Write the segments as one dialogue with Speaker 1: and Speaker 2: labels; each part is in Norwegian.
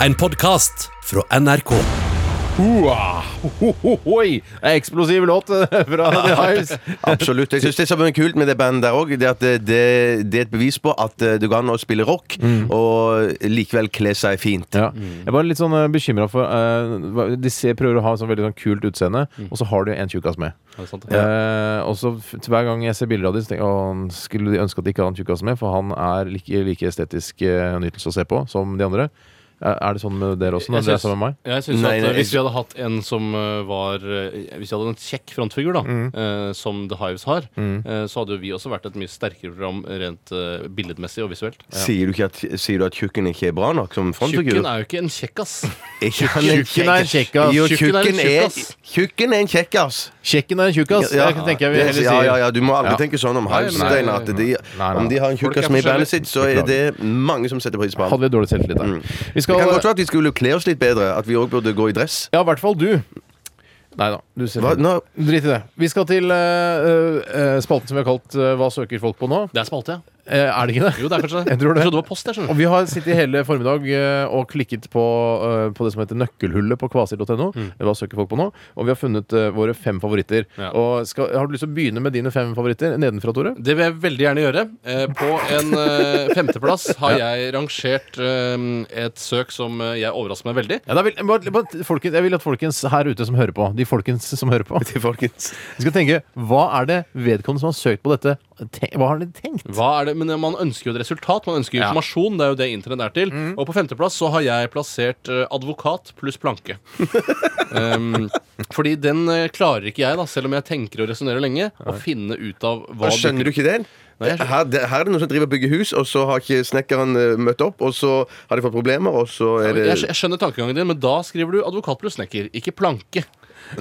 Speaker 1: En podkast fra NRK.
Speaker 2: Hoa! Hohohoi! Eksplosiv låt eh, fra The Hives.
Speaker 3: Absolutt. Jeg syns det som er kult med det bandet der òg, det er at det, det, det er et bevis på at eh, det går an å spille rock og likevel kle seg fint.
Speaker 2: Ja. Jeg var litt sånn bekymra for eh, hva- De ser, prøver å ha sånn veldig sånn kult utseende,
Speaker 3: Mm.
Speaker 2: og så har de en tjukkas med. Eh, og så f- til Hver gang jeg ser bilder av dem, så tenker jeg at skulle de ønske at de ikke hadde en tjukkas med, for han er like, like estetisk eh, nytelse å se på som de andre. Er- er det sånn med dere også? Når dere er sammen med meg?
Speaker 4: Jeg synes
Speaker 3: Nei,
Speaker 4: at
Speaker 3: nei,
Speaker 4: eh, Hvis vi
Speaker 3: jeg-
Speaker 4: hadde hatt en som eh, var eh, Hvis vi hadde en kjekk frontfigur, da,
Speaker 2: Mm.
Speaker 4: eh, som The Hives har, eh, så hadde jo vi også vært et mye sterkere program rent eh, billedmessig og visuelt.
Speaker 3: Sier, du ikke at, sier du at tjukken ikke er bra nok som frontfigur?
Speaker 4: Tjukken er jo ikke en kjekkas.
Speaker 3: Ikke han en
Speaker 2: Tjukken er en kjekkas.
Speaker 3: Jo,
Speaker 4: Tjukken er en
Speaker 3: tjukken er,
Speaker 4: tjukkas.
Speaker 3: tjukken er en kjekkas.
Speaker 2: Kjekken er en tjukkas!
Speaker 3: Ja,
Speaker 2: det tenker jeg vi
Speaker 3: det-
Speaker 2: heller
Speaker 3: ja,
Speaker 2: sier.
Speaker 3: ja, ja, du må aldri
Speaker 2: Ja.
Speaker 3: tenke sånn om
Speaker 4: Nei,
Speaker 3: Hives,
Speaker 4: nei,
Speaker 3: Steinar. At de,
Speaker 2: Nei, nei.
Speaker 3: om de har en
Speaker 4: Folk er
Speaker 3: tjukkas med i bandet
Speaker 4: forskjellige.
Speaker 3: sitt, så er det mange som setter pris på
Speaker 2: Hadde
Speaker 3: ham.
Speaker 2: vi dårlig selvtillit der. Vi
Speaker 3: Det
Speaker 2: skal,
Speaker 3: kan godt være at vi skulle kle oss litt bedre. At vi òg burde gå i dress.
Speaker 2: ja, i hvert fall du. Nei da. Du ser
Speaker 3: Hva? Nå,
Speaker 2: Drit i det. Vi skal til eh, eh, spalten som vi har kalt eh, Hva søker folk på nå?
Speaker 4: Det er spalte, ja.
Speaker 2: Eh, er det ikke det?
Speaker 4: Jo, det er kanskje det.
Speaker 2: Jeg tror det.
Speaker 4: Jeg trodde det var post, jeg, skjønner
Speaker 2: Og vi har sittet hele formiddag eh, og klikket på, eh, på det som heter nøkkelhullet på kvasir.no. Hva søker folk på nå? Og vi har funnet eh, våre fem favoritter.
Speaker 4: Ja.
Speaker 2: Og skal, har du lyst til å begynne med dine fem favoritter nedenfra, Tore?
Speaker 4: Det vil jeg veldig gjerne gjøre. Eh, På en eh, femteplass har jeg rangert eh, et søk som eh, jeg overrasker meg veldig.
Speaker 2: Ja, da vil, bare, bare, folkens, jeg vil at folkens her ute som hører på, de folkens som hører på De skal tenke hva er det vedkommende som har søkt på dette, te, hva har de tenkt?
Speaker 4: Hva er det? Men man ønsker jo et resultat, man ønsker
Speaker 2: Ja.
Speaker 4: informasjon. Det er jo det internett er til.
Speaker 3: Mm.
Speaker 4: Og på femteplass så har jeg plassert eh, advokat pluss planke. um, fordi den eh, klarer ikke jeg, da, selv om jeg tenker og resonnerer lenge, å finne ut av hva
Speaker 3: Ah, skjønner du ikke det?
Speaker 4: Nei, jeg skjønner.
Speaker 3: Her, det- her er det noen som driver og bygger hus, og så har ikke snekkeren eh, møtt opp, og så har de fått problemer, og så er
Speaker 4: jeg, skj-
Speaker 3: det
Speaker 4: jeg skjønner tankegangen din, men da skriver du advokat pluss snekker, ikke planke.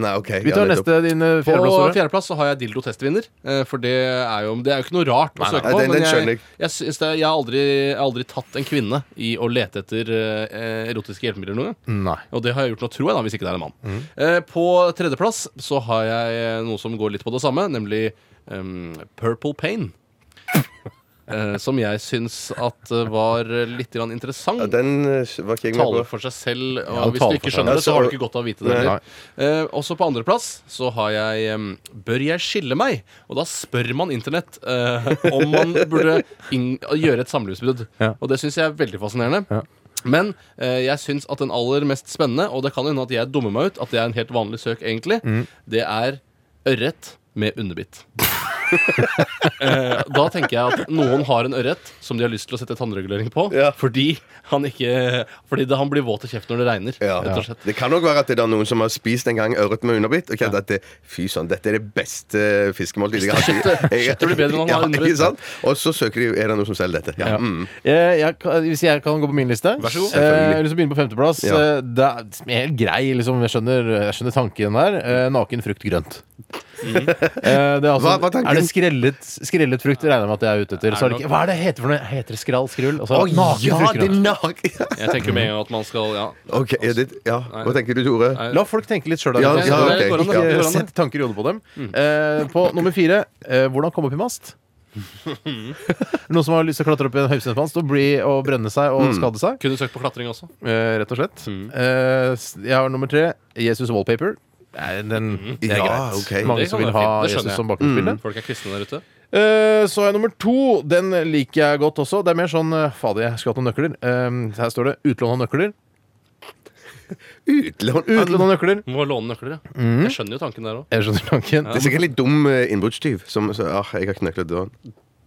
Speaker 3: Nei, OK.
Speaker 2: Vi
Speaker 3: ja,
Speaker 2: tar
Speaker 3: nettopp.
Speaker 2: neste, din eh, fjerdeplass.
Speaker 4: På
Speaker 2: Tore.
Speaker 4: fjerdeplass så har jeg dildo-testvinner. eh, For det er jo, det er jo ikke noe rart å
Speaker 3: nei.
Speaker 4: søke på.
Speaker 3: Den- den
Speaker 4: men
Speaker 3: skjønner
Speaker 4: jeg,
Speaker 3: jeg.
Speaker 4: jeg, syns det, jeg, har aldri, jeg har aldri tatt en kvinne i å lete etter eh, erotiske hjelpemidler noen gang.
Speaker 2: Nei.
Speaker 4: Og det har jeg gjort nå, tror jeg, da, hvis ikke det er en mann. Eh, på tredjeplass så har jeg eh, noe som går litt på det samme, nemlig ehm, Purple Pain. Eh, som jeg syns at eh, var litt grann interessant.
Speaker 3: Ja, den eh, var ikke jeg med på.
Speaker 4: taler for seg selv, og
Speaker 2: den
Speaker 4: hvis
Speaker 2: taler
Speaker 4: du ikke
Speaker 2: for seg.
Speaker 4: skjønner det,
Speaker 3: Ja,
Speaker 4: så
Speaker 3: så-
Speaker 4: har du ikke godt av å vite det.
Speaker 3: Nei.
Speaker 4: heller. Eh, også på andreplass så har jeg em, Bør jeg skille meg? Og da spør man Internett eh, om man burde inn, gjøre et samlivsbrudd.
Speaker 2: Ja.
Speaker 4: Og det syns jeg er veldig fascinerende.
Speaker 2: Ja.
Speaker 4: Men eh, jeg syns at den aller mest spennende, og det kan hende at jeg dummer meg ut, at det er en helt vanlig søk egentlig,
Speaker 2: Mm.
Speaker 4: det er ørret med underbitt. Eh, da tenker jeg at noen har en ørret som de har lyst til å sette tannregulering på,
Speaker 3: Ja.
Speaker 4: fordi han ikke Fordi det, han blir våt i kjeften når det regner.
Speaker 3: Ja.
Speaker 4: Rett og slett.
Speaker 3: Det kan nok være at det er noen som har spist en gang ørret med underbitt og kjent at det, fy sånn, dette er det beste eh, fiskemåltidet jeg har
Speaker 4: Kjøttet- kjøttet blir bedre når man har underbitt.
Speaker 3: ikke sant? Og så søker de er det noen som selger dette. Ja.
Speaker 2: Ja.
Speaker 3: Mm.
Speaker 2: Eh, jeg, kan- hvis jeg kan gå på min liste
Speaker 3: Vær så god.
Speaker 2: Eh, Jeg har lyst til å begynne på femteplass.
Speaker 3: Ja.
Speaker 2: Eh, Det er helt grei, liksom. Jeg skjønner, jeg skjønner tanken her. Eh, Naken frukt grønt.
Speaker 3: Mhm.
Speaker 2: Eh, Det er, altså,
Speaker 3: Hva- hva er tanken?
Speaker 2: er det skrellet, skrellet frukt? Det regner jeg med at jeg er ute etter.
Speaker 4: Er
Speaker 2: Så er det
Speaker 4: det
Speaker 2: ikke, hva er det heter for noe? Heter det skrall? Skrull? Altså,
Speaker 3: Å,
Speaker 2: naken
Speaker 3: ja,
Speaker 2: frukt
Speaker 3: det er
Speaker 2: grønt.
Speaker 3: naken!
Speaker 4: Jeg tenker med en gang at man skal ja.
Speaker 3: Ok, er det, ja. Hva tenker du, Tore?
Speaker 4: Nei.
Speaker 2: La folk tenke litt sjøl der.
Speaker 3: Ja,
Speaker 2: ute.
Speaker 3: ja, ok.
Speaker 2: Ikke
Speaker 3: Går an, Mm. det
Speaker 4: går an, det.
Speaker 2: Sett tanker i hodet på dem. Eh, På nummer fire eh, hvordan komme opp i mast? Noen som har lyst til å klatre opp i en høysendsmast og, bli- og brenne seg og
Speaker 3: Mm.
Speaker 2: skade seg?
Speaker 4: Kunne søkt på klatring også.
Speaker 2: Eh, rett og slett. Eh, s- jeg har nummer tre. Jesus Wallpaper. Nei, den, det er
Speaker 3: Ja,
Speaker 2: greit.
Speaker 3: ok.
Speaker 2: Mange
Speaker 4: Det
Speaker 2: som
Speaker 4: kan
Speaker 2: vil
Speaker 4: være
Speaker 2: ha
Speaker 4: fint, det skjønner
Speaker 2: Jesus
Speaker 4: jeg. Mm.
Speaker 2: som bakgrunnsbilde.
Speaker 4: Folk er kristne der ute.
Speaker 2: Eh, så er nummer to. Den liker jeg godt også. Det er mer sånn eh, Fader, jeg skulle hatt noen nøkler. Eh, her står det 'utlån av nøkler'.
Speaker 3: Utlån
Speaker 2: Utlån av nøkler.
Speaker 4: Må låne nøkler, ja. Jeg skjønner jo tanken der òg.
Speaker 2: Jeg skjønner tanken.
Speaker 3: Det er sikkert litt dum eh, innbruddstyv som så, ah, 'Jeg har ikke nøkler til døren.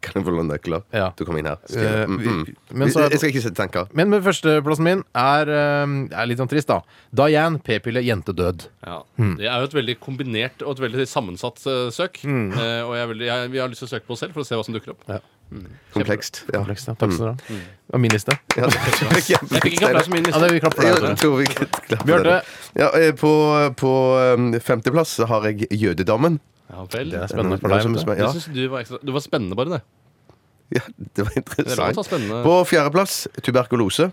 Speaker 3: Kan jeg få låne nøkler?'
Speaker 2: Ja.
Speaker 3: Du kom inn her.
Speaker 2: Eh,
Speaker 3: Mm,
Speaker 2: vi-
Speaker 3: mm.
Speaker 2: men så er-
Speaker 3: Jeg skal ikke sette tanker.
Speaker 2: Men med førsteplassen min er, eh, er litt sånn trist, da. Diane, p-pille, jente død.
Speaker 4: Ja. Det er jo et veldig kombinert og et veldig sammensatt eh, søk. Eh, og jeg, er veldig- jeg, vi har lyst til å søke på oss selv for å se hva som dukker opp. Mm.
Speaker 3: Komplekst. Ja.
Speaker 2: Takk skal du ha. Det var min liste.
Speaker 3: Ja.
Speaker 4: Jeg fikk ikke applaus på min
Speaker 2: Ja,
Speaker 4: liste.
Speaker 2: det, vi klapper
Speaker 3: Ja,
Speaker 2: der.
Speaker 3: jeg
Speaker 2: altså.
Speaker 3: tror vi kan klappe
Speaker 2: Bjarte.
Speaker 3: det. Ja, eh, på, på eh, femteplass så har jeg jødedommen.
Speaker 4: Ja, vel.
Speaker 2: Det er
Speaker 4: Det
Speaker 2: spennende for
Speaker 3: Det er
Speaker 2: deg.
Speaker 3: noe
Speaker 2: vet
Speaker 3: som
Speaker 2: du.
Speaker 3: er- ja.
Speaker 4: Jeg synes du, var ekstra, du var spennende, bare. det
Speaker 3: ja, det var
Speaker 4: Det er lov å ta
Speaker 3: interessant.
Speaker 4: spennende
Speaker 3: På fjerdeplass tuberkulose.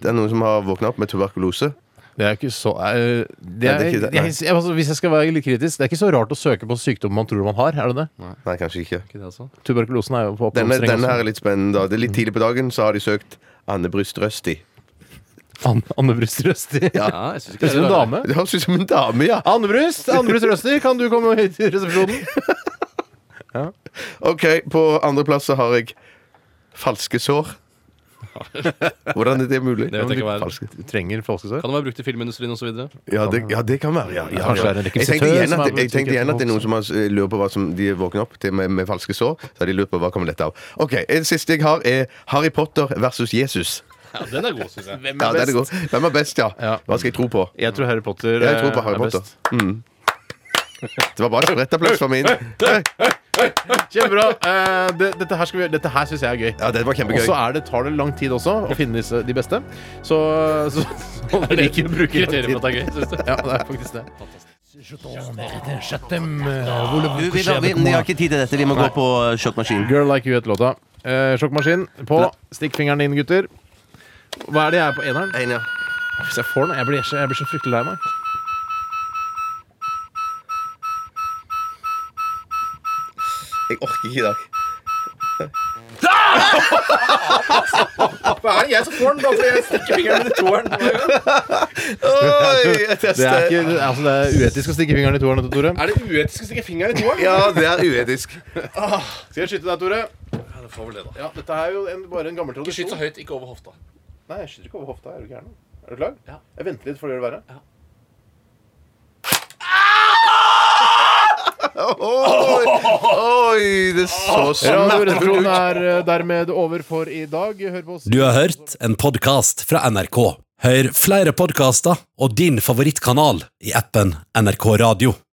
Speaker 3: Det er noen som har våkna opp med tuberkulose.
Speaker 2: Det er ikke så eh, det
Speaker 3: Nei,
Speaker 2: er,
Speaker 3: det er ikke det,
Speaker 2: jeg, jeg, altså, Hvis jeg skal være litt kritisk, det er ikke så rart å søke på sykdommer man tror man har. er det det?
Speaker 3: Nei, kanskje ikke.
Speaker 4: Ikke det, altså?
Speaker 2: Tuberkulosen er jo på
Speaker 3: Denne,
Speaker 2: oppblomstring.
Speaker 3: denne
Speaker 2: også.
Speaker 3: her er litt spennende. da Det er Litt tidlig på dagen så har de søkt Anne Bryst Røsti.
Speaker 2: An Annebrust Røsti.
Speaker 4: Ja,
Speaker 2: Ja.
Speaker 4: jeg synes
Speaker 2: Høres
Speaker 4: ikke det
Speaker 2: ut som en
Speaker 4: er
Speaker 2: dame.
Speaker 3: Det høres ut som en dame, ja.
Speaker 2: Annebrust Annebrust Røsti, kan du komme hit til resepsjonen?
Speaker 3: OK, på andreplass så har jeg falske sår. Hvordan er det mulig?
Speaker 4: Det vet jeg ikke hva er.
Speaker 3: Falske-
Speaker 2: Du trenger falske sår.
Speaker 4: Kan det være brukt i filmindustrien osv.?
Speaker 3: Ja det, ja, det kan være. Ja, ja,
Speaker 2: Kanskje
Speaker 3: ja.
Speaker 2: det er en
Speaker 3: Jeg tenkte
Speaker 2: regissør
Speaker 3: igjen
Speaker 2: som
Speaker 3: at,
Speaker 2: er
Speaker 3: jeg tenkte igjen at det er noen
Speaker 2: usikker
Speaker 3: som har, eh, lurer på hva som de våkner opp til med, med falske sår. Så har de lurt på hva kommer dette av. OK, Det siste jeg har, er Harry Potter versus Jesus.
Speaker 4: Ja, den er god, syns jeg.
Speaker 3: Ja, den er god. Hvem er best, ja?
Speaker 2: Ja.
Speaker 3: Hva skal jeg tro på?
Speaker 2: Jeg tror Harry Potter
Speaker 3: Jeg tror
Speaker 2: eh,
Speaker 3: på Harry
Speaker 2: er
Speaker 3: Potter.
Speaker 2: best.
Speaker 3: Mm. Det var bare sprettapplaus for min.
Speaker 2: Kjempebra. Eh, det, dette her, skal vi- dette her syns jeg er gøy.
Speaker 3: Ja, det var
Speaker 2: Og
Speaker 3: kjempegøy.
Speaker 2: så er det, tar det lang tid også å finne disse, de beste. Så, så, så vi liker å bruke lang
Speaker 4: Kriterier
Speaker 2: tid.
Speaker 4: for at det er gøy, syns du?
Speaker 2: Ja, det er faktisk det.
Speaker 3: Vi har ikke tid til dette. Vi må gå på sjokkmaskinen.
Speaker 2: Girl Like You heter låta. Eh, sjokkmaskin på. Stikk fingeren inn, gutter. Hva er det jeg er på eneren?
Speaker 3: Ja.
Speaker 2: Hvis jeg får den, jeg blir så, jeg blir så fryktelig lei meg.
Speaker 3: Jeg orker ikke i dag. Hva er det jeg som får den? Bare fordi jeg stikker fingeren i toeren. Jeg
Speaker 2: Det er,
Speaker 3: tester.
Speaker 2: ikke, altså, det er uetisk å stikke fingeren i toeren, dette, Tore.
Speaker 4: Er det uetisk å stikke fingeren i toeren?
Speaker 3: Ja, det er uetisk.
Speaker 2: Skal jeg skyte deg, Tore?
Speaker 4: Ja, det får vel det, da.
Speaker 2: Ja, dette er jo bare en gammel
Speaker 4: Ikke skyt så høyt, ikke over hofta.
Speaker 2: Nei, jeg skyter ikke over hofta. Er du gæren? Er du klar?
Speaker 4: Ja.
Speaker 2: Jeg venter litt for å gjøre det verre.
Speaker 3: Oi, oi, det er så smertefullt.
Speaker 2: Radioresepsjonen er eh, dermed over for i dag. Hør på oss.
Speaker 1: Du har hørt en podcast fra NRK. Hør flere podcaster og din favorittkanal i appen NRK Radio.